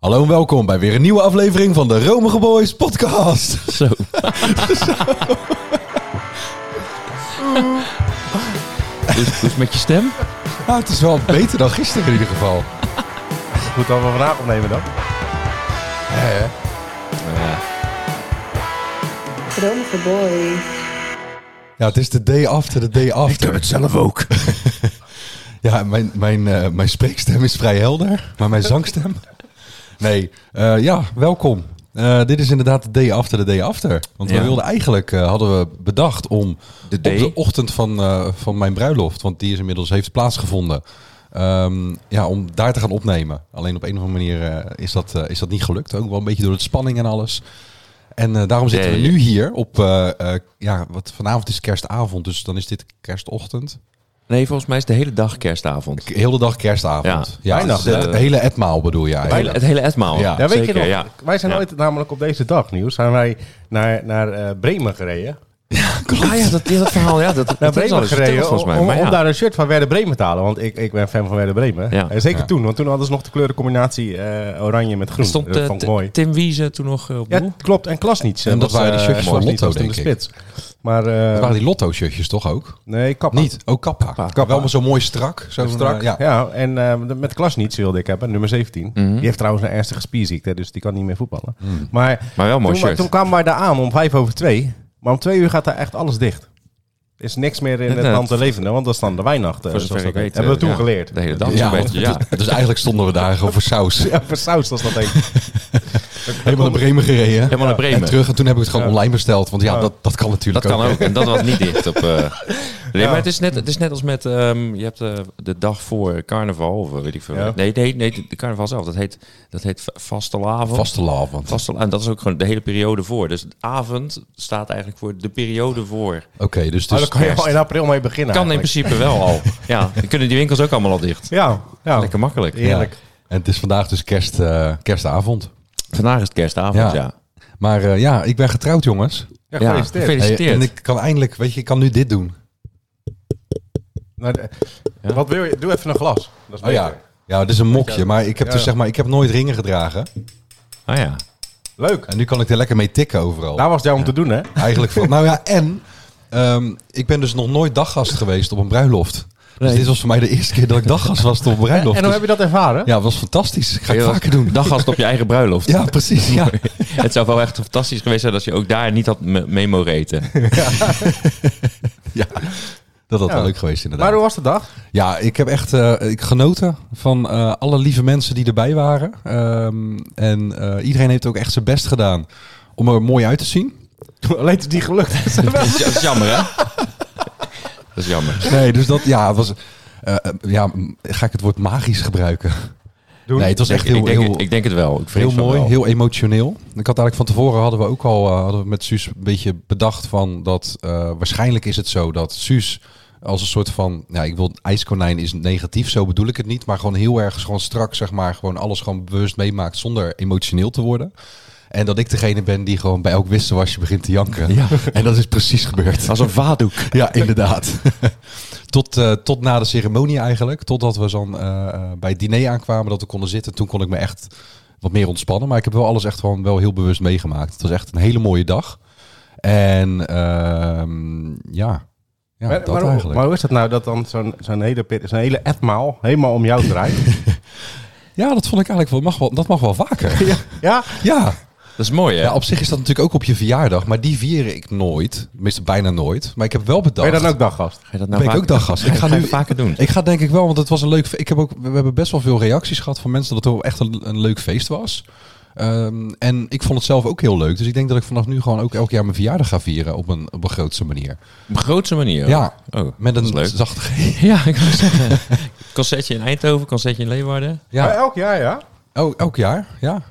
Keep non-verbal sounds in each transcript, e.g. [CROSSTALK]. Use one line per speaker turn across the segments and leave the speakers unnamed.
Hallo en welkom bij weer een nieuwe aflevering van de Romige Boys [LAUGHS] podcast.
[LAUGHS] Zo. dus, dus met je stem?
Nou, het is wel beter dan gisteren in ieder geval.
Moet dan wel vandaag opnemen dan?
Hè?
Romige boy.
Ja, het is de day after de day after. Ik heb het zelf ook. [LAUGHS] ja, mijn, mijn, eh, mijn spreekstem is vrij helder, maar mijn zangstem... Nee, eh, ja, welkom. Eh, dit is inderdaad de day after de day after. Want we
Ja.
wilden eigenlijk, eh, hadden we bedacht om
De
op de ochtend van, eh, van mijn bruiloft, want die is inmiddels heeft plaatsgevonden. Ehm, ja, om daar te gaan opnemen. Alleen op een of andere manier eh, is, dat, eh, is dat niet gelukt. Ook wel een beetje door de spanning en alles. En eh, daarom zitten we
Nee.
nu hier op, eh, eh, ja, wat vanavond is kerstavond, dus dan is dit kerstochtend.
Nee, volgens mij is de hele dag kerstavond.
K- Heel de dag kerstavond.
Ja.
Ja,
Bijna.
dus het
Eh,
hele etmaal bedoel je eigenlijk.
Hele- het hele etmaal.
Ja.
Ja, weet
Zeker,
je nog?
Ja.
Wij zijn
Ja.
ooit namelijk op deze dag, Nieuws, zijn wij naar, naar eh, Bremen gereden.
Ah ja, dat, ja, dat verhaal. Ja,
[LAUGHS]
dat,
Naar
dat is al
Bremen
eens verteld,
Nou, gereden
volgens
om,
mij.
om,
maar ja.
daar een shirt van Werder Bremen te halen. Want ik, ik ben fan van Werder Bremen.
Ja.
En zeker
Ja.
toen, want toen hadden ze nog de kleurencombinatie eh, oranje met groen.
stond
dat
eh,
vond ik mooi.
T- Tim Wiese toen nog eh, op
Ja,
doel.
klopt. En Klasniets. eh,
En dat
was,
waren die
eh,
shirtjes van
Klasniets
Lotto,
was toen
denk
de spits. Maar, eh,
Dat waren die lotto-shirtjes toch ook?
nee, kappa.
Niet, ook kappa. Wel maar zo mooi strak. Zo
Strak.
ja.
Ja. en eh, de- met Klasniets wilde ik hebben, nummer 17.
Mhm.
Die heeft trouwens een ernstige spierziekte, dus die kan niet meer voetballen. Maar
Maar wel een mooi
toen,
shirt.
Toen kwamen wij daar aan om vijf over twee. Maar om twee uur gaat daar echt alles dicht. Er is niks meer in
Net,
het
eh,
land te leven, want dat is dan de Weihnachten.
Voor
zoals
zover ik
dat heet.
weet.
Hebben we
eh,
toen
ja,
geleerd.
De hele dag
Ja,
zo'n beetje, ja.
[LAUGHS] Dus eigenlijk stonden we daar gewoon voor saus.
[LAUGHS] Ja, voor saus was dat
[LAUGHS]
heet. oh,
Helemaal naar Bremen gereden.
Helemaal naar
En
Bremen.
terug. En toen heb ik het gewoon online besteld. Want ja,
Ja.
dat, dat kan
Dat
natuurlijk
kan
ook.
ook. En dat was niet dicht op...
[LAUGHS]
eh, Nee, maar het is net, het is net als met... ehm, je hebt eh, de dag voor carnaval, of eh, weet ik veel.
Ja.
Nee, nee, nee, de carnaval zelf. Dat heet, dat heet va- vastelavond.
Vastelavond.
Vastelavond. En dat is ook gewoon de hele periode voor. Dus avond staat eigenlijk voor de periode voor.
Oké, dus,
Maar
dus
daar kan je
kerst.
al in april mee beginnen.
Kan in
eigenlijk.
principe wel
[LAUGHS]
al. Ja, dan kunnen die winkels ook allemaal al dicht.
Ja, ja.
Lekker makkelijk.
Ja. heerlijk.
En het is vandaag dus kerst, eh, kerstavond.
Vandaag is het kerstavond, ja.
Ja. Maar eh, ja, ik ben getrouwd, jongens.
Ja,
Ja,
gefeliciteerd.
gefeli- Gefeliciteerd.
Hey, en ik kan eindelijk, weet je, ik kan nu dit doen.
Nou, de-
Ja.
Wat wil je? Doe even een glas. Dat
Oh
is beter.
ja. Ja, dit is een mokje. Maar ik heb
Ja.
dus zeg maar, ik heb nooit ringen gedragen.
Ah ja.
Leuk.
En nu kan ik er lekker mee tikken overal.
Daar was het jou om te doen, hè?
Eigenlijk
[LAUGHS]
van. Nou ja, en ehm, ik ben dus nog nooit daggast geweest op een bruiloft. Dus
Nee.
dit was voor mij de eerste keer dat ik daggast was op een bruiloft.
[LAUGHS] En hoe
Dus-
heb je dat ervaren?
Ja, het was fantastisch. Ik ga het
Heel-
vaker doen.
Daggast op je eigen bruiloft. [LAUGHS]
Ja, precies. Ja.
Het zou wel echt fantastisch geweest zijn als je ook daar niet had me- mee mogen
[LAUGHS]
eten.
Dat had wel
Ja.
leuk geweest inderdaad.
Maar hoe was de dag? [LAUGHS]
Ja, ik heb echt eh, ik genoten van eh, alle lieve mensen die erbij waren. Ehm, en eh, iedereen heeft ook echt zijn best gedaan om er mooi uit te zien.
Alleen is het niet
[LAUGHS]
gelukt.
Dat is, dat is jammer, hè? Dat is jammer.
Nee, dus dat ja, het was. eh, eh, ja, m- ga ik het woord magisch gebruiken?
Doen.
Nee, het was echt
ik,
heel,
denk,
heel,
het, ik denk het wel. Ik vrees
heel
van
mooi,
wel.
heel emotioneel. Ik had eigenlijk van tevoren hadden we ook al eh, hadden we met Suus een beetje bedacht van dat eh, waarschijnlijk is het zo dat Suus als een soort van, ja, ik wil ijskonijn is negatief, zo bedoel ik het niet, maar gewoon heel erg gewoon strak zeg maar gewoon alles gewoon bewust meemaakt zonder emotioneel te worden. En dat ik degene ben die gewoon bij elk wisselwasje begint te janken.
Ja.
En dat is precies gebeurd.
Als een vaatdoek.
[LAUGHS] Ja, inderdaad. tot, eh, tot na de ceremonie eigenlijk. Totdat we dan eh, eh, bij het diner aankwamen, dat we konden zitten. Toen kon ik me echt wat meer ontspannen. Maar ik heb wel alles echt gewoon wel heel bewust meegemaakt. Het was echt een hele mooie dag. En ehm, ja, ja
maar,
dat
maar hoe-
eigenlijk.
maar hoe is dat nou dat dan zo'n zo'n hele pit, zo'n hele etmaal helemaal om jou draait?
ja, dat vond ik eigenlijk wel, mag wel, dat mag wel
[LAUGHS]
vaker. ja.
ja?
ja.
Dat is mooi, hè?
Ja, op zich is dat natuurlijk ook op je verjaardag. Maar die vier ik nooit. Tenminste, bijna nooit. Maar ik heb wel
Ben
bedacht.
je dan ook daggast?
Ga je dat nou
ben ik
vaak-
ook daggast.
Ga je
Ik ga
dat
nu-
vaker doen.
Ik ga denk ik wel, want het was een leuk. fe- Ik heb ook, we hebben best wel veel reacties gehad van mensen dat het wel echt een, een leuk feest was. Ehm, en ik vond het zelf ook heel leuk. Dus ik denk dat ik vanaf nu gewoon ook elk jaar mijn verjaardag ga vieren op een, op een grootste manier.
Op een grootste manier.
Ja,
Oh,
met
dat is
een
leuk.
zachte
[LAUGHS]
G.
Ja, ik wou zeggen. [LAUGHS] Concertje in Eindhoven, concertje in Leeuwarden.
Maar
Ja,
Oh, elk jaar, ja.
el- elk jaar, ja.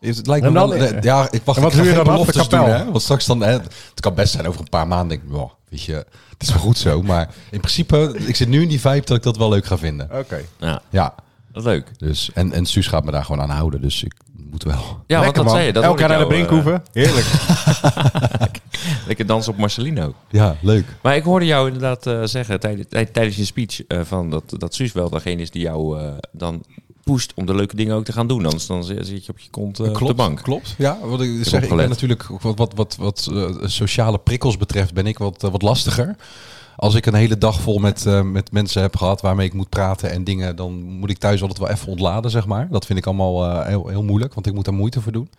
Is Het lijkt me
En
wel,
dan-
de- ja, ik wacht
En wat
ik ga
doe
geen
je dan af de
beloftes doen,
kapel?
hè? Want straks dan, hè, het kan best zijn over een paar maanden. Denk ik, wow, weet je, het is wel goed zo. Maar in principe, ik zit nu in die vibe dat ik dat wel leuk ga vinden.
Oké.
Ja,
Ja,
dat is leuk.
dus en, en Suus gaat me daar gewoon aan houden. Dus ik moet wel.
Ja,
Lekker,
want dat
man.
zei je. Dat
elk
hoorde
jaar
ik
naar de
jou,
Brinkhoeven.
[LAUGHS]
Heerlijk.
eh, lekker dansen op Marcelino.
Ja, leuk.
Maar ik hoorde jou inderdaad eh, zeggen tijdens, tijd- tijdens je speech eh, van dat, dat Suus wel degene is die jou eh, dan gepusht om de leuke dingen ook te gaan doen. Anders dan zit zit je op je kont eh, op
klopt,
de bank.
Klopt. Ja, wat ik zeg, ik ben
opgelet.
natuurlijk wat, wat, wat, wat eh, sociale prikkels betreft ben ik wat, eh, wat lastiger. Als ik een hele dag vol met, eh, met mensen heb gehad waarmee ik moet praten en dingen, dan moet ik thuis altijd wel even ontladen, zeg maar. Dat vind ik allemaal eh, heel, heel moeilijk, want ik moet daar moeite voor doen.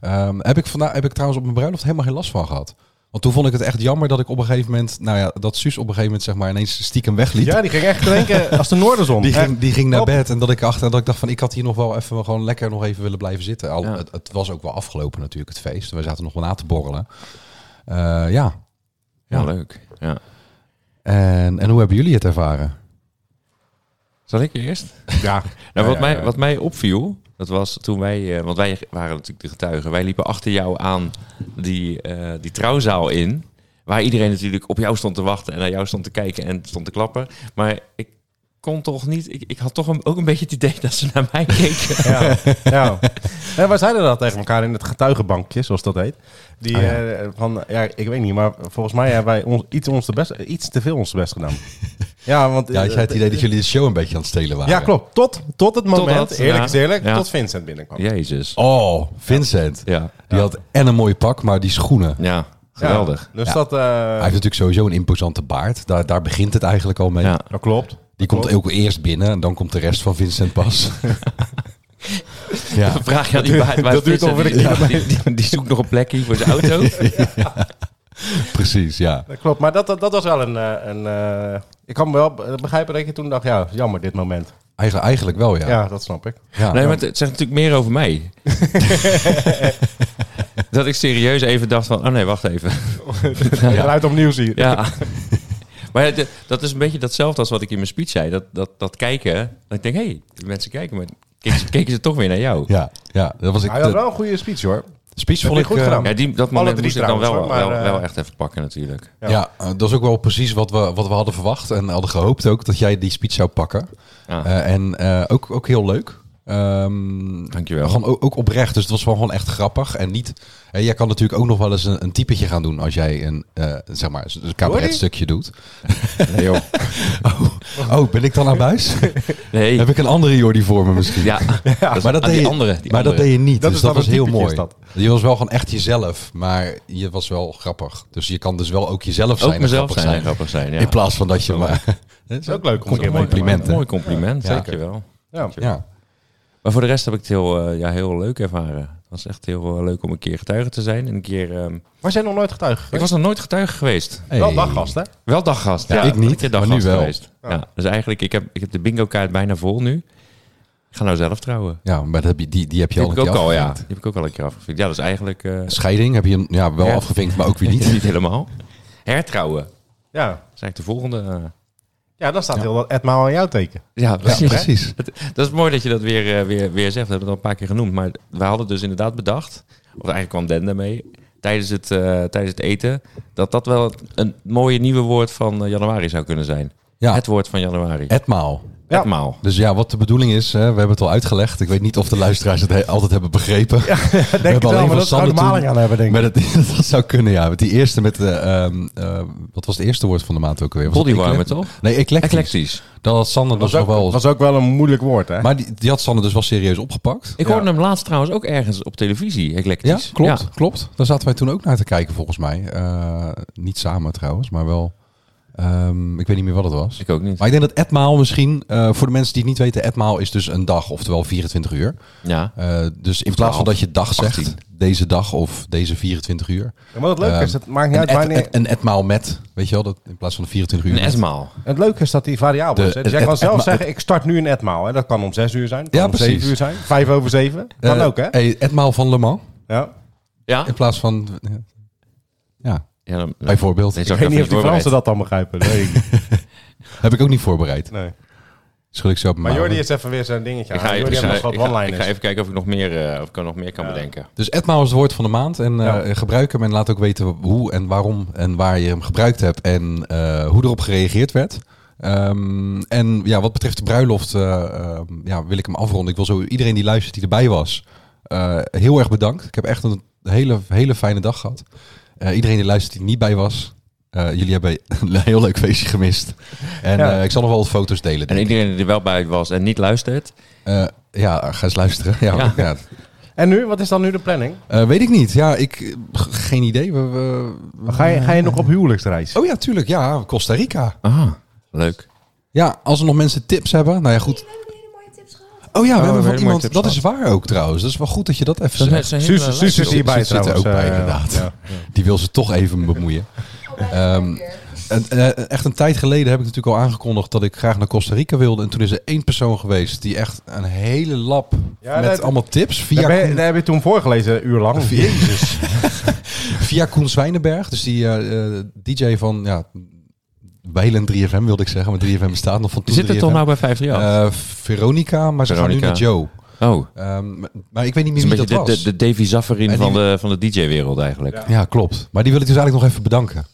Ehm, heb, ik vandaag, heb ik trouwens op mijn bruiloft helemaal geen last van gehad. Want toen vond ik het echt jammer dat ik op een gegeven moment, nou ja, dat Suus op een gegeven moment zeg maar ineens stiekem wegliep.
Ja, die ging echt klinken als de Noorderzon.
Die ging, die ging naar
Op.
bed en dat ik achter dat ik dacht van ik had hier nog wel even gewoon lekker nog even willen blijven zitten. Al,
Ja.
het, het was ook wel afgelopen natuurlijk het feest. We zaten nog wel na te borrelen. Eh, ja.
Ja,
Ja.
leuk. Ja.
En, en hoe hebben jullie het ervaren?
Zal ik eerst?
Echt. Ja.
Nou,
Ja,
wat,
ja,
mij,
ja.
wat mij opviel, dat was toen wij, eh, want wij waren natuurlijk de getuigen, wij liepen achter jou aan die, eh, die trouwzaal in, waar iedereen natuurlijk op jou stond te wachten en naar jou stond te kijken en stond te klappen. Maar ik kon toch niet, ik, ik had toch een- ook een beetje het idee [LAUGHS] dat ze naar mij
[LAUGHS]
keken.
Ja, ja. ja, wij zeiden dat tegen elkaar in het getuigenbankje, zoals dat heet. Die,
Oh,
Ah, ja.
eh, van, ja, ik weet niet, maar volgens mij hebben wij ons, iets, ons de best, iets te veel ons best gedaan. Ja, want... eh,
Ja, je had het idee dat jullie de show een beetje aan het stelen waren.
Ja, klopt. Tot, tot het moment,
dat,
eerlijk
ja.
is eerlijk,
Ja.
tot Vincent binnenkwam.
Jezus.
Oh, Vincent.
Ja,
Die had en een mooi pak, maar die schoenen.
ja, geweldig.
Ja, dus
Ja.
dat... eh,
Hij heeft natuurlijk sowieso een imposante baard. Daar, daar begint het eigenlijk al mee.
Ja.
dat klopt.
Die komt ook eerst binnen en dan komt de rest van Vincent
[LAUGHS]
pas. ja.
Dan Vraag je aan die baard, waar
dat duurt
Frits
ongeveer
en die, die, die, die zoekt nog een plekje voor zijn auto.
Precies, ja.
Dat klopt, maar dat, dat, dat was wel een... eh, een eh, ik kan wel be- begrijpen dat je toen dacht, ja, jammer dit moment.
Eigen, eigenlijk wel, ja.
Ja, dat snap ik.
Ja.
Nee, maar het, het zegt natuurlijk meer over mij. dat ik serieus even dacht van, oh nee, wacht even.
Eruit opnieuw zie je.
Ja. Maar ja, de- dat is een beetje datzelfde als wat ik in mijn speech zei. Dat, dat, dat kijken. Dat ik denk, hé, hey, die mensen kijken, maar keken ze, keken ze toch weer naar jou.
Ja, ja, dat was ik.
Hij had
De
wel een goede speech, hoor.
speech
Heb
vond
je
ik
goed
eh,
gedaan?
Ja, die, dat
Alle
moment
drie
moest ik dan wel,
trouwens, hoor,
wel,
maar,
wel
eh,
echt even pakken natuurlijk.
Ja, eh, dat is ook wel precies wat we, wat we hadden verwacht en hadden gehoopt ook dat jij die speech zou pakken.
Ja,
Eh, en eh, ook, ook heel leuk. Ehm,
dankjewel.
gewoon ook, ook oprecht, dus het was wel gewoon echt grappig en niet. hè, jij kan natuurlijk ook nog wel eens een, een typetje gaan doen als jij een, eh zeg maar, een cabaretstukje doet.
[LAUGHS] Nee, joh.
Oh, ben ik dan aan
[LAUGHS]
buis?
Nee.
Heb ik een andere Jordi voor me misschien?
Ja, dat is
maar dat,
aan
deed
die
je,
andere. Die
maar dat
andere.
deed je niet.
Dat
dus
is
dat
dan
was
een
heel
typetje,
mooi.
is dat.
Je was wel gewoon echt jezelf, maar je was wel grappig. Dus je kan dus wel ook jezelf zijn.
Ook
en
mezelf
grappig
zijn, en grappig zijn. Ja.
In plaats van dat je maar. [LAUGHS] Dat is
ook leuk om
Goed
een keer mee te
compliment, hè?
Mooi compliment,
Ja.
zeker wel.
Ja.
Ja.
Maar voor de rest heb ik het heel, eh, ja, heel leuk ervaren. Het was echt heel eh, leuk om een keer getuige te zijn. En een keer, ehm,
Maar zijn nog nooit getuige
ik
geweest?
was nog nooit getuige geweest.
Wel
Hey.
daggast, hè?
Wel daggast.
Ja, ik niet,
een keer
maar nu
daggast
wel.
Geweest. Ja. dus eigenlijk, ik heb, ik heb de bingo-kaart bijna vol nu. Ik ga nou zelf trouwen.
Ja, maar dat heb je, die, die heb je
Die
al
heb
een
ik
keer
ook al, ja.
afgevinkt.
Die heb ik ook al een keer afgevinkt. Ja, dat is eigenlijk eh,
Scheiding heb je hem ja, wel
Ja.
afgevinkt, maar ook
[LAUGHS]
weer niet.
niet helemaal. Hertrouwen. Dat
Ja.
is eigenlijk de volgende. eh.
Ja, dan staat heel dat etmaal aan jouw teken.
[LAUGHS] ja,
Ja,
precies.
precies.
Het- dat is mooi dat je dat weer, eh, weer, weer zegt. We hebben het al een paar keer genoemd. Maar we hadden dus inderdaad bedacht, of eigenlijk kwam Den daarmee, tijdens het, eh, tijdens het eten, dat dat wel het- een mooie nieuwe woord van eh, januari zou kunnen zijn.
Ja.
Het woord van januari.
Etmaal.
Ja.
Etmaal.
Dus ja, wat de bedoeling is, hè, we hebben het al uitgelegd. Ik weet niet of de luisteraars het he- altijd hebben begrepen.
[LAUGHS] Denk
hebben alleen van Sander toen-
hebben,
[LAUGHS]
denk
Maar dat, [LAUGHS] dat zou kunnen, ja. Met die eerste, met de, ehm, eh, wat was het eerste woord van de maand ook alweer? Was dat
Bodywarmer,
eclect-
toch?
Nee, eclectisch.
Eclectisch.
Dat had Sander
Dat
dus nog wel...
was ook wel een moeilijk woord, hè?
Maar die, die had Sander dus wel serieus opgepakt.
Ik
Ja.
hoorde hem laatst trouwens ook ergens op televisie,
Ja,
eclectisch.
klopt,
Ja.
klopt. Daar zaten wij toen ook naar te kijken, volgens mij. Eh, niet samen trouwens, maar wel... ehm, ik weet niet meer wat het was.
Ik ook niet.
Maar ik denk dat etmaal misschien, eh, voor de mensen die het niet weten, etmaal is dus een dag, oftewel 24 uur.
Ja.
Eh, dus in plaats van dat je dag zegt,
18.
deze dag of deze 24 uur.
Ja, maar wat leuk
Ehm,
is, het maakt niet
een,
uit
et-
wanneer...
et- een etmaal met, weet je wel, dat in plaats van de 24 uur.
Een
met.
etmaal.
het leuke is dat die variabel
De-
is. Hè? Dus jij
het-
kan
het-
zelf
het-
zeggen, ik start nu een etmaal. Hè? Dat kan om zes uur zijn, kan
Ja,
om
precies.
zeven uur zijn, vijf over zeven. Kan
Eh,
ook, hè?
hey, etmaal van Le Mans,
Ja.
Ja?
in plaats van... Ja,
ja dan,
bijvoorbeeld.
Nee,
Ik
zou
weet niet of
even
die
voorbereid.
Fransen dat dan begrijpen. Nee.
Heb ik ook niet voorbereid.
nee.
Schud ik zo op mijn
Maar Jordi
mouwen.
is even weer zo'n dingetje
Ik
aan.
ga, even,
Jordi
ik,
heeft
ga,
nog wat
ik ga-
one-liners.
ik ga even kijken of ik nog meer, eh, of ik er nog meer kan
Ja.
bedenken.
Dus etmaal is het woord van de maand. En eh, gebruik hem en laat ook weten hoe en waarom en waar je hem gebruikt hebt. En eh, hoe erop gereageerd werd. Ehm, en ja, wat betreft de bruiloft eh, ehm, ja, wil ik hem afronden. Ik wil zo iedereen die luistert, die erbij was, eh, heel erg bedankt. Ik heb echt een hele, hele fijne dag gehad. Eh, iedereen die luistert, die niet bij was, eh, jullie hebben een heel leuk feestje gemist. En
Ja.
eh, ik zal nog wel wat foto's delen.
En
denk ik.
iedereen die er wel bij was en niet luistert.
Eh, ja, ga eens luisteren. Ja,
Ja.
ja.
En nu? Wat is dan nu de planning?
Eh, weet ik niet. Ja, ik... eh, g- Geen idee. We, we-
Ga je, ga je nog op huwelijksreis?
Oh ja, tuurlijk. Ja, Costa Rica.
Ah, leuk.
Ja, als er nog mensen tips hebben. Nou ja, goed.
We hebben hele mooie tips gehad.
Oh ja, we
we
hebben
hebben
van
hele mooie
iemand...
tips
Dat is
gehad.
waar ook trouwens. Dat is wel goed dat je dat even
Dat
zegt.
is een hele
Suus, Suus is
lijst.
hierbij
Suus zit er
trouwens.
ook bij,
eh,
inderdaad.
ja.
Die wil ze toch even bemoeien.
Oh, bij de
Ehm,
deur.
En, eh, echt een tijd geleden heb ik natuurlijk al aangekondigd dat ik graag naar Costa Rica wilde. En toen is er één persoon geweest die echt een hele lab
Ja,
met
dat-
allemaal tips via,
Daar, ben je-
Koen,
daar heb je toen voorgelezen, een uur lang.
Jezus. [LAUGHS] via Koen Zwijnenberg. Dus die eh, eh, DJ van ja, Weiland 3FM wilde ik zeggen. Maar 3FM bestaat nog van toen
Zit er
3FM.
toch nou bij 538?
Eh, Veronica, maar ze
Veronica.
gaan nu naar Joe.
oh,
Ehm, maar, maar ik weet niet
het
meer
is
wie
een beetje
dat
de,
was.
de, de Davy Zafferin
En die-
van de, van de DJ-wereld eigenlijk.
Ja, klopt. Maar die wil ik dus eigenlijk nog even bedanken.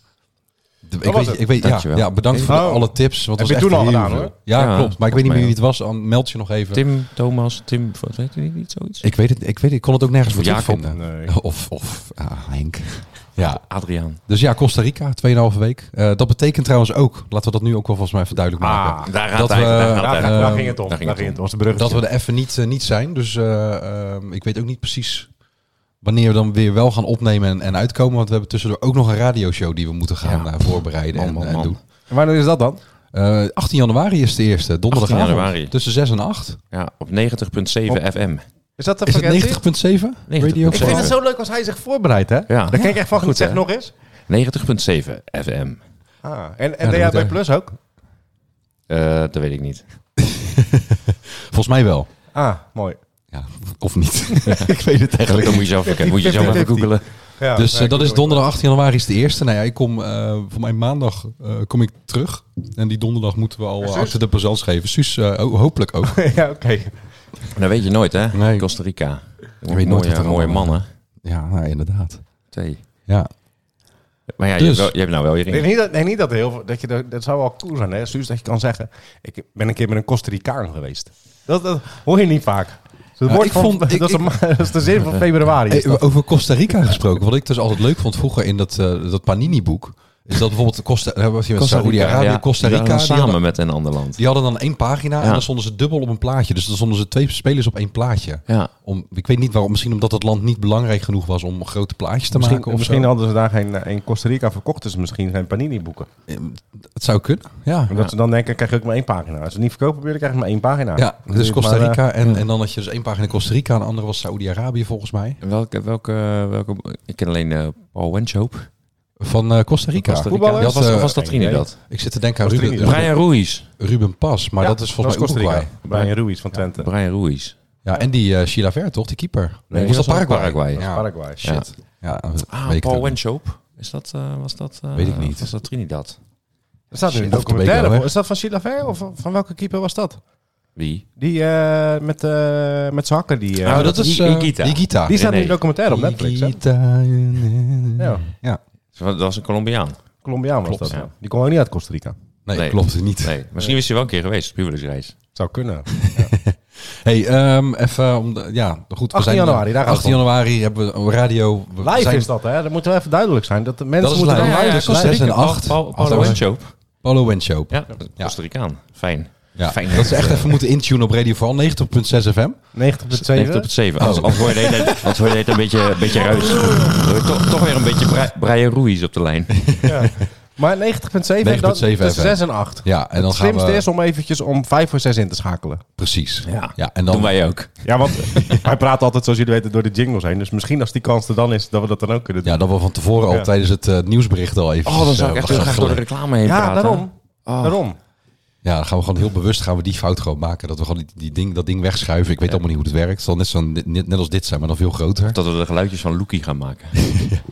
De- ik,
was
weet,
het.
ik weet, ja,
Dankjewel.
ja, bedankt voor
Oh.
alle tips. Want het was
Heb je
echt
toen al
heel
gedaan,
veel.
hoor?
Ja,
Ja,
klopt. Maar ik weet niet meer wie
volgens
het was. An- Meld je nog even.
Tim, Thomas, Tim, wat weet je niet zoiets?
Ik weet het. Ik weet het. Ik kon het ook nergens voor
Jacob.
terugvinden. [LAUGHS]
Nee.
Of, of ah, Henk. Ja,
Adriaan.
dus ja, Costa Rica, 2,5 week. Eh, dat betekent trouwens ook, laten we dat nu ook wel volgens mij even duidelijk maken.
Ah,
Daar
Dat
gaat hij.
we-
daar gaat
daar,
hij.
eh,
daar ging het
daar
om. Daar
ging het
ging
om.
het om. Dat was de bruggetje.
Dat we er even niet, eh, niet zijn. Dus eh, ehm, ik weet ook niet precies wanneer we dan weer wel gaan opnemen en, en uitkomen. Want we hebben tussendoor ook nog een radioshow die we moeten gaan eh, voorbereiden
Man,
en,
man,
en
man.
doen.
En Wanneer is dat dan?
Eh, 18 januari is de eerste, donderdag
18 januari.
Tussen 6 en 8.
Ja, op 90.7 FM.
Is dat de
Is het 90.7?
vakantie?
Radio?
Ik vind het zo leuk als hij zich voorbereidt, hè?
Ja.
Daar kijk ik echt van goed,
Goed,
zeg
hè?
nog eens.
90.7 FM.
Ah, en
Ja,
en
dat
DHB
moet
Plus ook?
Eh, dat weet ik
[LAUGHS]
niet.
Volgens mij wel.
Ah, mooi.
Ja, of niet. [LAUGHS] ik weet het
Eigenlijk
eigenlijk
dat
niet.
moet je zelf,
[LAUGHS]
verkennen. moet je zelf even
50-50.
googelen.
Ja,
Dus eh,
nee,
dat
ik doe
is
het
donderdag 18 januari is de eerste. Nou ja, ik kom eh, voor mij maandag eh, kom ik terug. En die donderdag moeten we al eh,
Suus?
achter de présence geven. Suus, eh, ho- hopelijk ook.
wel. [LAUGHS] ja, oké.
Dat Nou, weet je nooit, hè?
Nee.
Costa Rica.
Je weet nooit
mooie,
wat er
mooie
allemaal-
mannen.
Ja, nou, inderdaad.
Twee.
Ja.
Maar ja, je,
Dus.
hebt wel- je hebt nou wel je
Nee,
ring.
niet dat, nee, niet dat heel veel. Dat, je, dat, dat zou wel cool zijn, hè? Suus, dat je kan zeggen. Ik ben een keer met een Costa Ricaan geweest. Dat, dat hoor je niet vaak. Dus het
Ja,
wordt
ik
van-
vond- ik-
[LAUGHS] dat, is een- dat is de zin van februari. is
Hey,
dat.
over Costa Rica gesproken. Wat ik dus altijd leuk vond vroeger in dat, eh, dat Panini-boek. Is dat bijvoorbeeld Costa, eh, wat je met Saoedi-Arabië,
Ja,
Costa
die
Rica.
waren
die
samen
hadden-
met een ander land.
Die hadden dan één pagina en
Ja.
dan stonden ze dubbel op een plaatje. Dus dan stonden ze twee spelers op één plaatje.
Ja.
Om, ik weet niet waarom, misschien omdat het land niet belangrijk genoeg was om grote plaatjes te
Misschien,
maken. Of
misschien
zo.
hadden ze daar geen. eh, In Costa Rica verkochten ze misschien geen Panini-boeken.
Het zou kunnen, ja.
Omdat ze dan denken: krijg je ook maar één pagina. Als ze het niet verkopen, willen, krijg je maar één pagina.
Ja, dus
Maar,
Costa
eh,
Rica en, en dan had je dus één pagina Costa Rica en de andere was Saoedi-Arabië volgens mij.
En Welke, welke, welke, ik ken alleen eh, Paul Wenshoop.
Van eh, Costa Rica.
Costa Rica.
Dat
Voetballers?
Dat was,
was, eh,
was dat
geen idee.
Trinidad.
Ik zit te denken aan
Costa
Ruben,
Rica.
Ruben,
Brian Ruiz.
Ruben Pas, maar
Ja,
dat is volgens
dat is
mij
Costa
Uruguay.
Rica. Brian Ruiz van Twente.
Brian Ruiz.
Ja, en die eh Chilaver toch, die keeper?
die
was
was
dat
van
Paraguay?
Paraguay.
Ja.
Paraguay.
Shit. Ja,
Ah,
weet ik
Paul
ook.
Wenshoop. Is dat, eh, was dat, eh,
Weet ik niet.
Was dat Trinidad?
Er staat nu een
Shit, dat
documentaire.
betekent
voor.
wel,
Is dat van Chilaver of van, van welke keeper was dat?
Wie?
Die eh, met, eh met zijn hakken. Die, eh,
Nou,
Oh, dat is
I-
eh,
Igita.
Igita.
die staat nu
nee.
in een documentaire op Netflix. Hè?
Igita.
Ja,
Ja,
Dat was een Colombiaan.
Colombiaan was
Klopt,
dat.
ja.
ja. Die kwam ook niet uit Costa Rica.
nee,
Nee.
klopt niet.
Nee, misschien is hij wel een keer geweest op huwelijksreis.
Zou kunnen.
Hey, ehm, even om de, ja, goed.
18 januari, daar gaat
18
het om.
januari hebben we een radio. We
Live
zijn-
is dat, hè? Dat moet wel even duidelijk zijn. Dat de mensen
Dat is
moeten
live.
dan
Ja, ja,
live
ja,
zijn.
zes en acht.
Paul,
Als
Paul
dat was-
Wenshoop.
Polo Wenshoop.
Ja,
Ja.
Costa Ricaan. Fijn.
Ja,
Fijn. eh,
dat ze echt even moeten intunen op Radio Vooral 90.6 FM.
90.7.
90 op het 7. Als, als hoor je de hele tijd- als hoor je de hele tijd een beetje, een beetje ruis. Dan hoor je Toch, toch weer een beetje Bri- Brian Ruiz op de lijn.
Ja. Maar 90.7, dat
90.7
tussen
FM.
6 en 8.
Ja, en dan
het
gaan
slimste
we...
is om eventjes om 5 voor 6 in te schakelen.
Precies.
Ja.
en
Doen
dan...
wij ook.
Ja, want [LAUGHS] wij praten altijd, zoals jullie weten, door de jingles heen. Dus misschien als die kans er dan is, dat we dat dan ook kunnen doen.
Ja, dat we van tevoren al
Ja.
tijdens het eh, nieuwsbericht al eh, even...
Oh, dan zou ik echt heel graag door de reclame heen
Ja,
praten.
daarom. Daarom.
Ja, dan gaan we gewoon heel bewust gaan we die fout gewoon maken. Dat we gewoon die, die ding, dat ding wegschuiven. Ik weet allemaal niet hoe het werkt. Het zal net, zo'n, net, net als dit zijn, maar dan veel groter.
Dat we de geluidjes van Loekie gaan maken.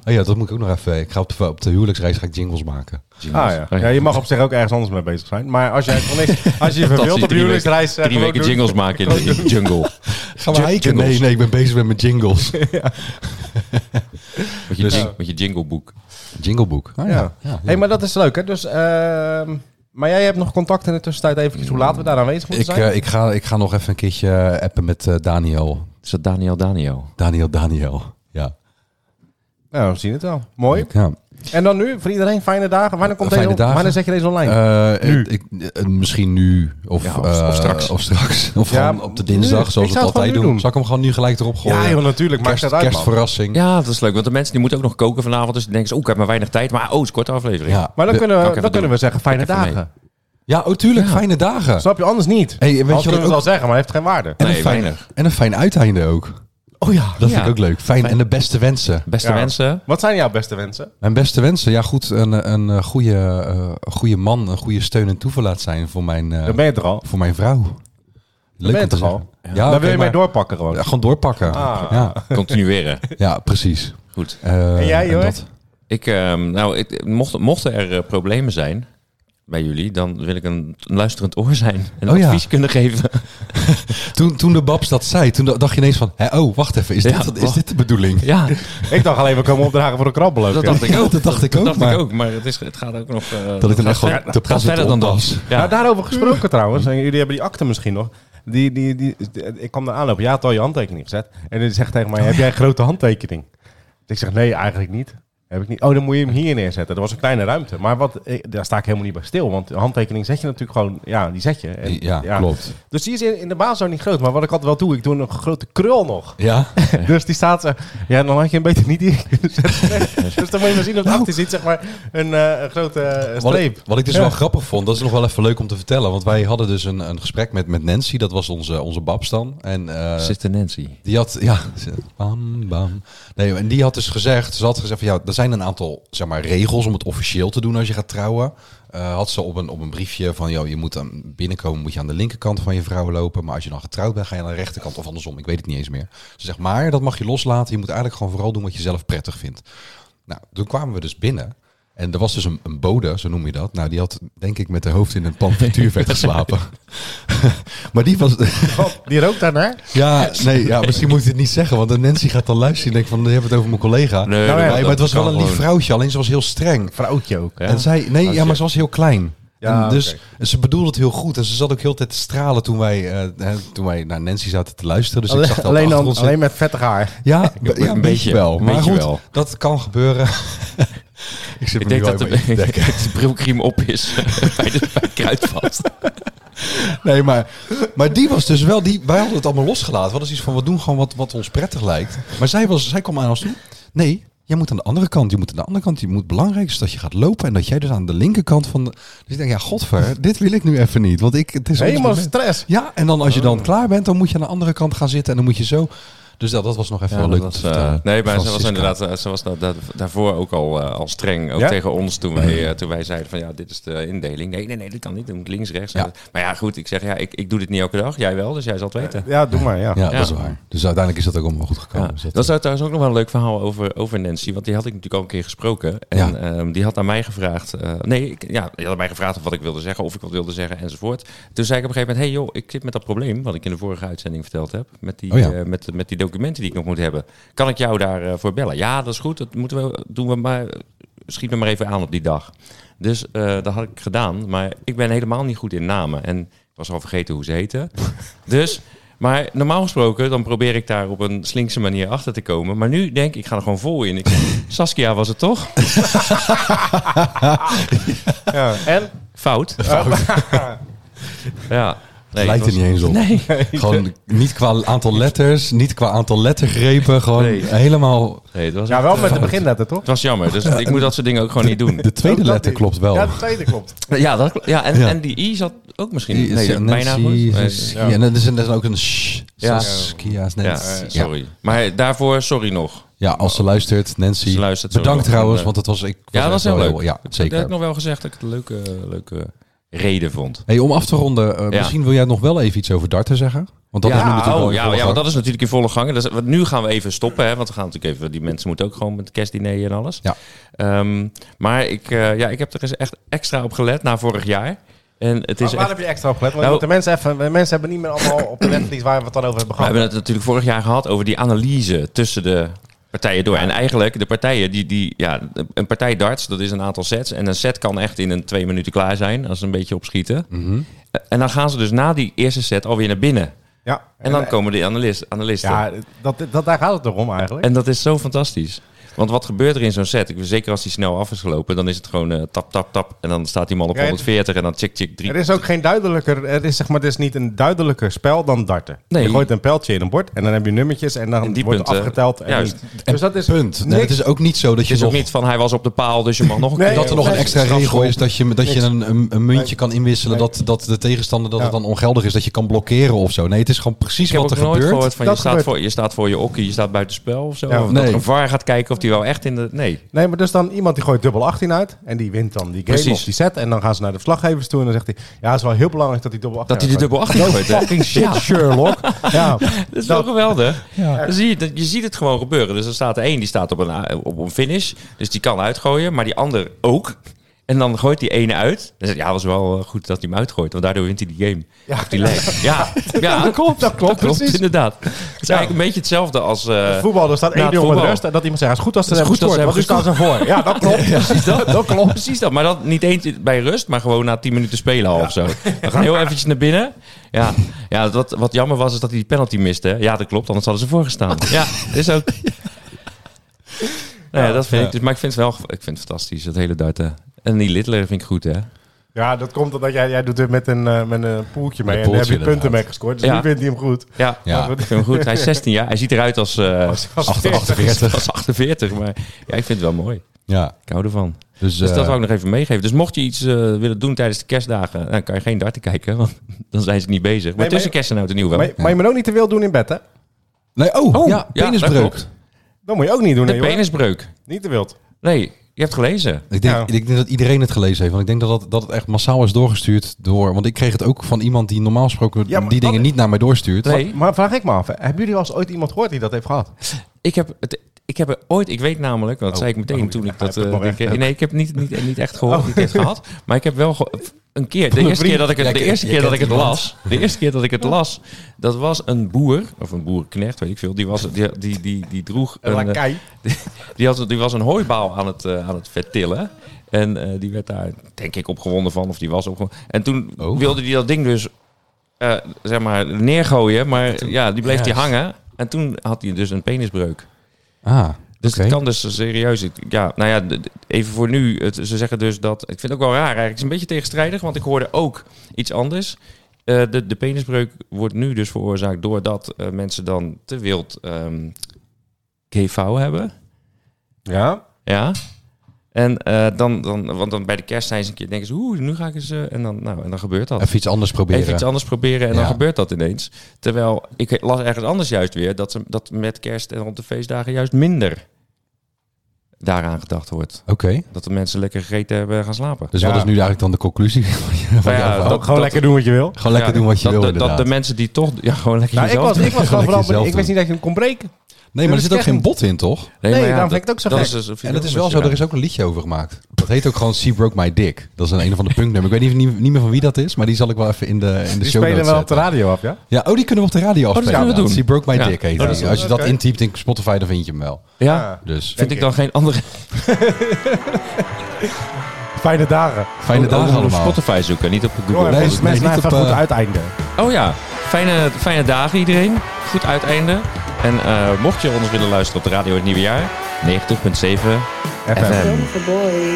Oh ja, dat moet ik ook nog even... Ik ga op de, op de huwelijksreis ga ik jingles maken.
Ah, ja. ja, je mag op zich ook ergens anders mee bezig zijn. Maar als jij het wel niks- als je je
Dat
verveelt
die
op
drie weken,
huwelijksreis... eh,
drie
gewoon
weken
doen.
jingles maken in
[LAUGHS]
de, in de jungle.
Gaan
Ju-
hiken?
jingles.
Nee, nee, ik ben bezig met mijn [LAUGHS] jingles.
Met je,
Dus-
jing, met je jingleboek.
Jingleboek. Ah, ja.
Ja.
Ja,
hey, maar dat is leuk, hè? Dus, ehm, maar jij hebt nog contact in de tussentijd eventjes hoe laat we daar aanwezig moeten
Ik,
zijn?
eh, ik, ga, ik ga nog even een keertje eh, appen met eh, Daniel.
Is dat Daniel Daniel?
Daniel, Daniel. Ja.
nou, we zien het wel. Mooi.
Ja.
En dan nu, voor iedereen, fijne dagen. Wanneer, komt
Fijne
deze,
dagen.
wanneer zet je deze online?
Eh,
Nu.
ik- eh, misschien nu of,
Ja, of- of
eh,
straks.
of straks. [LAUGHS] Of
Ja,
gewoon op de dinsdag,
nu.
zoals
Ik
we het
zou het
altijd
gewoon nu
doen.
doen.
Zal ik hem gewoon nu gelijk erop gooien?
ja, joh, natuurlijk. Maakt
oh, Kerst,
dat uit, man.
kerstverrassing.
Ja, dat is leuk. Want de mensen die moeten ook nog koken vanavond. Dus die denken ze, oeh, ik heb maar weinig tijd. Maar oh, het is korte aflevering.
Ja.
Maar dan
De-
kunnen,
kan ik
we,
even
dan kunnen
doen.
we zeggen fijne
Kan ik even
dagen.
ja, oh tuurlijk, fijne dagen.
Snap je? Anders niet.
Hey, weet je
Anders
wat
kunnen
ik
we het
ook-
wel zeggen, maar het heeft geen waarde.
En,
Nee,
een fijn,
weinig.
en een fijn uiteinde ook.
Oh ja.
Dat
Ja.
vind ik ook leuk. Fijn,
Fijn.
en de beste wensen.
Beste
Ja.
mensen.
Wat zijn jouw beste wensen?
Mijn beste wensen. Ja, goed. Een, een eh, goede, eh, goede man, een goede steun en toeverlaat zijn voor mijn, eh,
Dan ben je er al.
voor mijn vrouw.
Dan ben je
om te
toch al?
zeggen. Ja,
dan
oké,
wil je
maar-
mij doorpakken gewoon.
Ja, gewoon doorpakken.
Ah.
Ja, [LAUGHS]
Continueren.
ja, precies.
Goed.
Eh,
En jij, Jorrit?
dat.
Ik, ehm, nou, ik, mocht, mochten er eh, problemen zijn bij jullie, dan wil ik een luisterend oor zijn. En
Oh ja.
advies kunnen geven.
[LAUGHS] Toen, toen de Babs dat zei, toen dacht je ineens van... Hè, oh, wacht even. Is,
Ja,
dit, is
wacht.
dit de bedoeling?
ja,
Ik dacht alleen, we komen opdragen voor een krabbel.
dat dacht ik ook.
[LAUGHS] dat dacht ik ook,
Dat dacht
maar-
ik ook. Maar het, is, het gaat ook nog... eh,
Dat ik dan
gaat
echt gewoon
ver-
te
het gaat
pas
verder
op
dan
was.
dat. Ja.
Nou, daarover gesproken trouwens. En jullie hebben die akte misschien nog. Die, die, die, ik kwam daar aanlopen. Jij had al je handtekening gezet. En die zegt tegen mij, heb jij een grote handtekening? Dus ik zeg, nee, eigenlijk niet. Heb ik niet. Oh, dan moet je hem hier neerzetten. Dat was een kleine ruimte. Maar wat, eh, daar sta ik helemaal niet bij stil. Want de handtekening zet je natuurlijk gewoon... Ja, die zet je. En,
Ja, klopt.
Dus die is in, in de baas ook niet groot. Maar wat ik altijd wel doe, ik doe een grote krul
[LAUGHS]
nog.
Ja?
Dus die staat zo... Ja, dan had je hem beter niet hier kunnen
[LAUGHS]
zetten. dus dan moet je maar zien op de achter zit, zeg maar, een, eh, een grote eh,
Nou. Wat
streep.
ik, wat ik dus
Ja.
wel grappig vond, dat is nog wel even leuk om te vertellen. Want wij hadden dus een, een gesprek met, met Nancy, dat was onze, onze Babs dan. En, eh,
Sister Nancy.
Die had, ja, ze- bam, bam. Nee, en die had dus gezegd, ze had gezegd van ja, er zijn een aantal zeg maar, regels om het officieel te doen als je gaat trouwen. Eh, had ze op een, op een briefje van, joh, je moet aan binnenkomen, moet je aan de linkerkant van je vrouw lopen. Maar als je dan getrouwd bent, ga je aan de rechterkant of andersom. Ik weet het niet eens meer. Ze zegt, maar dat mag je loslaten. Je moet eigenlijk gewoon vooral doen wat je zelf prettig vindt. Nou, toen kwamen we dus binnen. En er was dus een, een bode, zo noem je dat. Nou, die had denk ik met de hoofd in een pan frituurvet geslapen. [LAUGHS] maar die was,
Wat? Die rookt daarnaar?
ja, nee, ja, misschien moet ik dit niet zeggen, want dan Nancy gaat dan luisteren en denkt van, dan hebben we het over mijn collega. Nee,
Nee,
ja,
dat-
maar
Nou maar
dat
het was
kan
wel een lief
gewoon.
vrouwtje, alleen ze was heel streng.
Vrouwtje ook, hè?
En zij, nee, ja, maar ze was heel klein.
Ja,
En dus
oké.
en ze bedoelde het heel goed en ze zat ook heel de tijd te stralen toen wij, eh, hè, toen wij naar Nancy zaten te luisteren. Dus ik zag dat
alleen,
achter
dan-
ons zit.
alleen met vettig haar.
Ja, be- ja, een
beetje,
beetje wel.
een
Maar
beetje
goed,
wel.
dat kan gebeuren. [LAUGHS] ik zit me
Ik denk
nu
dat de,
al even in te
ik
dekken.
denk dat [LAUGHS] de brilkriem op is [LAUGHS] bij, de, bij Kruidvat.
Nee, maar, maar die was dus wel... Die, wij hadden het allemaal losgelaten. We hadden zoiets van, we doen gewoon wat, wat ons prettig lijkt. Maar zij, was, zij kwam aan ons toe. Nee, jij moet aan de andere kant. Je moet aan de andere kant. Je moet belangrijk is dat je gaat lopen. En dat jij dus aan de linkerkant van de... Dus ik denk, ja,
[LAUGHS]
godver, dit wil ik nu even niet. Want ik, het is ons
Helemaal
moment.
stress.
Ja, en dan als je
Oh.
dan klaar bent, dan moet je aan de andere kant gaan zitten. En dan moet je zo... Dus dat, dat was nog even wel leuk om te
eh,
vertellen.
nee, maar ze was
Francisca.
inderdaad eh, ze was da- da- daarvoor ook al, eh, al streng. Ook
Ja?
tegen ons toen wij, eh, toen wij zeiden van ja, dit is de indeling. Nee, nee, nee, dit kan niet. Het moet links, rechts.
Ja.
Maar ja, goed, ik zeg ja, ik, ik doe dit niet elke dag. Jij wel, dus jij zal het weten.
Ja, doe maar, ja.
Ja,
Ja.
dat is waar. Dus uiteindelijk is dat ook allemaal goed gekomen.
Ja,
Dus
dat is trouwens ook nog wel een leuk verhaal over, over Nancy. Want die had ik natuurlijk al een keer gesproken. En
Ja.
ehm, die had aan mij gevraagd. eh, nee, ik, ja, die had aan mij gevraagd of wat ik wilde zeggen, of ik wat wilde zeggen enzovoort. Toen zei ik op een gegeven moment: hey joh, ik zit met dat probleem. Wat ik in de vorige uitzending verteld heb. Met die,
Oh ja.
eh, met, met die documenten die ik nog moet hebben. Kan ik jou daarvoor eh, voor bellen? Ja, dat is goed. Dat moeten we, doen we maar. Schiet me maar even aan op die dag. Dus eh, dat had ik gedaan. Maar ik ben helemaal niet goed in namen. En ik was al vergeten hoe ze
[LAUGHS]
heten. dus, maar normaal gesproken, dan probeer ik daar op een slinkse manier achter te komen. Maar nu denk ik, ik ga er gewoon vol in. Ik,
[LAUGHS]
Saskia was het toch?
Ja. En?
Fout. ja. Nee,
Lijkt
het
er niet eens op.
Nee.
Gewoon niet qua aantal letters, niet qua aantal lettergrepen. Gewoon
Nee.
helemaal...
Nee, het, was eh,
Ja, wel met de beginletter, toch?
het was jammer.
[LAUGHS]
Dus ik moet dat soort dingen ook gewoon niet
[LAUGHS]
doen.
De tweede
Ook dat
letter
niet.
klopt wel.
Ja, de tweede klopt.
Ja, dat, kl- ja, en,
Ja.
en die I zat ook misschien
Die-
nee,
ja,
bijna
Nancy,
goed. Nee.
Saskia.
Ja.
En er is, er is ook een sh.
Ja.
Saskia's
Ja,
Nancy. Ja,
sorry. Maar daarvoor, sorry nog.
Ja, als ze luistert, Nancy.
Ze luistert
bedankt
sowieso. eh,
trouwens, want het was... Ik
Ja, dat
echt
was heel leuk.
Ja,
Dat heb
zeker.
ik nog wel gezegd dat ik het een leuke, leuke reden vond.
Hey, om af te ronden, eh,
Ja.
misschien wil jij nog wel even iets over darten zeggen? Want dat is nu
ja,
natuurlijk wel
oh,
in
ja,
volle
ja, want
gang.
dat is natuurlijk in volle gang. Dus, want nu gaan we even stoppen, hè, want we gaan natuurlijk even, die mensen moeten ook gewoon met kerstdiner en alles.
Ja.
Ehm, maar ik, eh, ja, ik heb er eens echt extra op gelet na vorig jaar. En het is
Maar waar
echt,
heb je extra op gelet? Want
Nou-
de, mensen even, de mensen hebben niet meer allemaal op de netvlies waar we het dan over hebben
we
gehad.
hebben het natuurlijk vorig jaar gehad over die analyse tussen de partijen door. En eigenlijk de partijen die, die ja, een partij darts, dat is een aantal sets. En een set kan echt in een twee minuten klaar zijn, als ze een beetje opschieten.
Mhm.
En dan gaan ze dus na die eerste set alweer naar binnen.
Ja.
Eh,
En dan komen de analist, analisten.
Ja, dat, dat, daar gaat het toch om eigenlijk.
En dat is zo fantastisch. Want wat gebeurt er in zo'n set? Ik weet zeker als die snel af is gelopen, dan is het gewoon eh, tap, tap, tap. En dan staat die man op
Ja, het-
140 en dan chick, chick, drie.
Er is ook geen duidelijker, er is zeg maar, er is niet een duidelijker spel dan darten.
Nee.
Je gooit een pijltje in een bord en dan heb je nummertjes en dan
En die
wordt
punten,
afgeteld. En
juist.
niet. Dus dat is
Punt. Nee,
niks.
het is ook niet zo dat
Het
je
is ook
nog,
niet van hij was op de paal, dus je mag nog een
Nee,
keer.
dat er nog een
Nee,
extra
strafschop.
regel is dat je, dat je
Niks.
een, een, een muntje
Nee.
kan inwisselen
Nee.
dat, dat de tegenstander dat
Ja.
het dan ongeldig is, dat je kan blokkeren of zo. Nee, het is gewoon precies
Ik heb
wat er
ook nooit
gebeurt.
gehoord van
Dat
je staat,
gebeurt.
voor, je staat voor je okkie, je staat buitenspel of zo.
Ja,
of
nee.
dat een VAR gaat kijken of die wel echt in de... Nee,
Nee, maar dus dan iemand die gooit dubbel 18 uit en die wint dan die game
Precies.
of die set. En dan gaan ze naar de vlaggevers toe en dan zegt hij, ja, het is wel heel belangrijk dat hij dubbel 18
dat hij de dubbel 18 gooit. hè.
fucking shit, Sherlock. [LAUGHS] Ja,
Dat is wel geweldig. Dan zie je, dat- je ziet het gewoon gebeuren. Dus er staat er één, die staat op een, a- op een finish. Dus die kan uitgooien, maar die ander ook. En dan gooit die ene uit. Dan zegt ja, was wel eh, goed dat hij hem uitgooit. Want daardoor wint hij die game.
Ja.
Of die leg.
[LAUGHS]
Ja, ja,
dat klopt, dat klopt, precies.
[LAUGHS] inderdaad. Het is eigenlijk een beetje hetzelfde als... eh,
Voetbal, er staat
Na
1-0
het
met
voetbal.
rust. En dat iemand zegt, het is goed als ze
Het is
hebben
goed dat
gescoord, want
ze
nu staan ze voor. Ja, dat
[LAUGHS]
klopt.
Precies dat. klopt. Precies dat. Maar dat niet eens bij rust, maar gewoon na 10 minuten spelen al of zo. We gaan heel eventjes naar binnen. Ja, ja wat, wat jammer was, is dat hij die penalty miste. hè. Ja, dat klopt. Anders hadden ze voorgestaan. [LAUGHS] Ja, is ook... Nou ja, dat vind ik. Dus, maar ik vind het wel ik vind het fantastisch, dat hele darten. En die Littler vind ik goed, hè?
Ja, dat komt omdat jij, jij doet het met een, eh, met een poeltje mee.
Met
en daar heb
poeltje,
je punten
inderdaad.
mee gescoord. Dus
Ja.
nu vindt hij hem goed.
Ja,
Ja.
[LAUGHS] ik vind hem goed. Hij is 16 jaar. Hij ziet eruit als, eh als,
Als- als-
48.
als 48. Maar ja, ik vind het wel mooi.
Ja,
Ik hou ervan.
dus,
Dus
eh,
dat wou ik nog even meegeven. Dus mocht je iets eh, willen doen tijdens de kerstdagen, dan kan je geen darten kijken, want [LAUGHS] dan zijn ze niet bezig. Maar
maar
tussen
je-
kerst en oud en nieuw wel.
Maar, maar je moet ook niet te veel doen in bed, hè?
nee, oh,
Oh,
ja,
ja, dat
penisbreuk.
klopt.
Dat moet je ook niet doen, hè,
de
jongen.
penisbreuk.
Niet te wild.
Nee, je hebt gelezen.
Ik denk,
Ja.
ik denk dat iedereen het gelezen heeft. Want ik denk dat, dat dat het echt massaal is doorgestuurd door. Want ik kreeg het ook van iemand die normaal gesproken
Ja, maar
die
dat-
dingen niet naar mij doorstuurt.
Nee,
Maar vraag ik me af, hè, hebben jullie wel eens ooit iemand gehoord die dat heeft gehad?
ik heb, het, ik heb er ooit, ik weet namelijk, want dat
Oh,
zei ik meteen
oh,
toen
[LAUGHS] ja,
ik dat.
heb ik
eh,
nog
denk-
echt Oh. ook.
nee, ik heb niet, niet, niet echt gehoord, niet echt gehad. Maar ik heb wel geho- een keer, de
een
eerste keer
vriend.
dat ik het,
Ja,
de
ik-
eerste
je
keer dat ik
kent
het
iemand.
las, de eerste keer dat ik het las, dat was een boer of een boerenknecht, weet ik veel. Die was, die, die, die, die droeg
Een
een, eh,
lakai.
Die, had, die was een hooibaal aan het, eh, aan het vertillen. En eh, die werd daar, denk ik, opgewonden van. Of die was opgewonden. En toen
Oh.
wilde hij dat ding dus, eh, zeg maar, neergooien. Maar ja, die bleef die
Juist.
hangen. En toen had hij dus een penisbreuk.
Ah,
Dus
Oké.
het kan dus serieus. ik- Ja, nou ja, d- d- even voor nu. Het, ze zeggen dus dat. Ik vind het ook wel raar eigenlijk. Het is een beetje tegenstrijdig, want ik hoorde ook iets anders. Eh, de, de penisbreuk wordt nu dus veroorzaakt doordat eh, mensen dan te wild ehm GV hebben.
Ja?
Ja. En eh, dan, dan, want dan bij de kerst zijn ze een keer denken ze, oeh, nu ga ik eens. eh, en, dan, nou, en dan gebeurt dat.
even iets anders proberen.
Even iets anders proberen en dan
Ja.
gebeurt dat ineens. Terwijl ik las ergens anders juist weer dat, ze, dat met kerst en rond de feestdagen juist minder daaraan gedacht wordt.
Oké.
Dat de mensen lekker gegeten hebben en gaan slapen.
Dus
Ja.
wat is nu eigenlijk dan de conclusie? [LAUGHS] Van je, van
Nou
je
ja,
verhaal?
dat-
Gewoon lekker doen wat je wil.
Gewoon lekker
Ja,
doen wat je
dat,
wil.
dat, dat
inderdaad.
de mensen die toch ja, gewoon lekker
Nou, ik
jezelf
[LAUGHS] was, ik was gewoon
Lekker
vooral
jezelf
benieuwd. Ik wist
doen.
niet dat je hem kon breken.
nee, maar er
dat
zit
is
ook geen
echt
bot in, toch?
Nee, maar ja,
daarom vind ik het ook zo
dat
gek.
is dus een
En dat is
video-
wel zo, er is ook een liedje over gemaakt. Dat heet ook gewoon She Broke My Dick. Dat is een een of andere punknummer. Ik weet niet, niet meer van wie dat is, maar die zal ik wel even in de, in de
Die
show
spelen
notes
wel op de
zetten.
radio af, ja?
Ja, oh, die kunnen we op de radio afspelen.
kunnen we
inderdaad. She
doen.
Broke My
Ja.
Dick heet
Oh, dat
die.
is-
Als je dat
oké.
intypt in Spotify, dan vind je hem wel.
Ja,
Ah.
Dus
vind ik dan geen andere [LAUGHS]
Fijne dagen.
fijne dagen
op
allemaal.
Spotify zoeken, niet op Google.
Jongen,
nee,
mensen
nee,
mensen
niet
even
op,
goed
eh,
uiteinden.
Oh ja, fijne, fijne dagen iedereen. Goed uiteinde. En eh, mocht je ons willen luisteren op de radio het nieuwe jaar, 90.7
FM.
FM.
Droom for boy.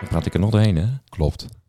Dan praat ik er nog doorheen, hè?
Klopt.